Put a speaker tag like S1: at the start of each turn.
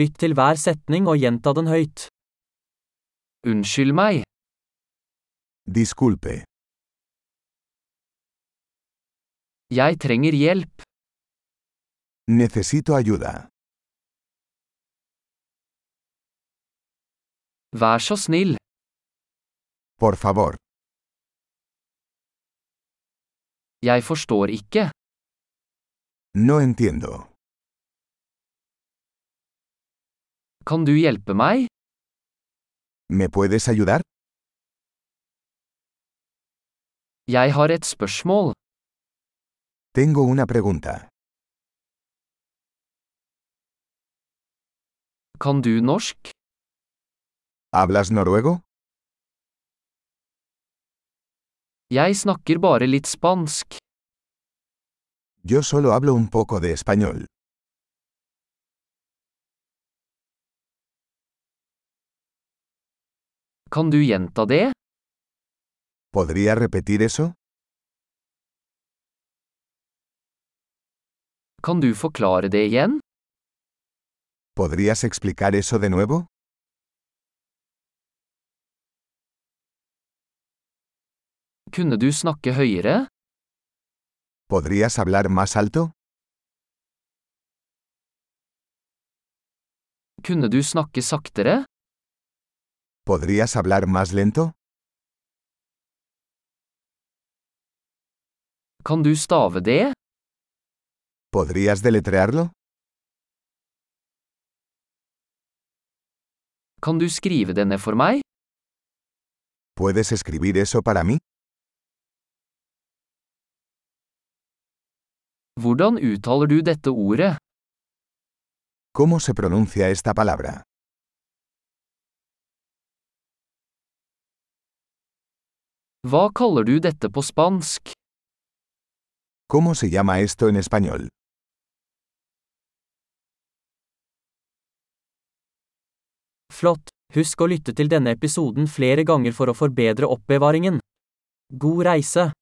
S1: Lytt til hver setning og gjenta den høyt. Unnskyld meg,
S2: Disculpe,
S1: jeg trenger hjelp.
S2: necesito ayuda.
S1: Vær så snill,
S2: Por favor,
S1: jeg forstår ikke.
S2: no entiendo.
S1: Kan du hjelpe meg?
S2: ¿Me puedes ayudar?
S1: Jeg har et spørsmål.
S2: Tengo una pregunta.
S1: Kan du norsk?
S2: ¿Hablas noruego?
S1: Jeg snakker bare litt spansk.
S2: Yo solo hablo un poco de español.
S1: Kan du gjenta det?
S2: ¿Podría repetir eso?
S1: Kan du forklare det igjen?
S2: ¿Podrías explicar eso de nuevo?
S1: Kunne du snakke høyere?
S2: ¿Podrías hablar más alto?
S1: Kunne du snakke saktere?
S2: ¿Podrías hablar más lento?
S1: Kan du stave det?
S2: ¿Podrías deletrearlo?
S1: Kan du skrive det ned for meg?
S2: ¿Puedes escribir eso para mí?
S1: Hvordan uttaler du dette ordet?
S2: ¿Cómo se pronuncia esta palabra?
S1: Hva kaller du dette på spansk?
S2: ¿Cómo se llama esto en español?
S1: Flott! Husk å lytte til denne episoden flere ganger for å forbedre oppbevaringen. God reise!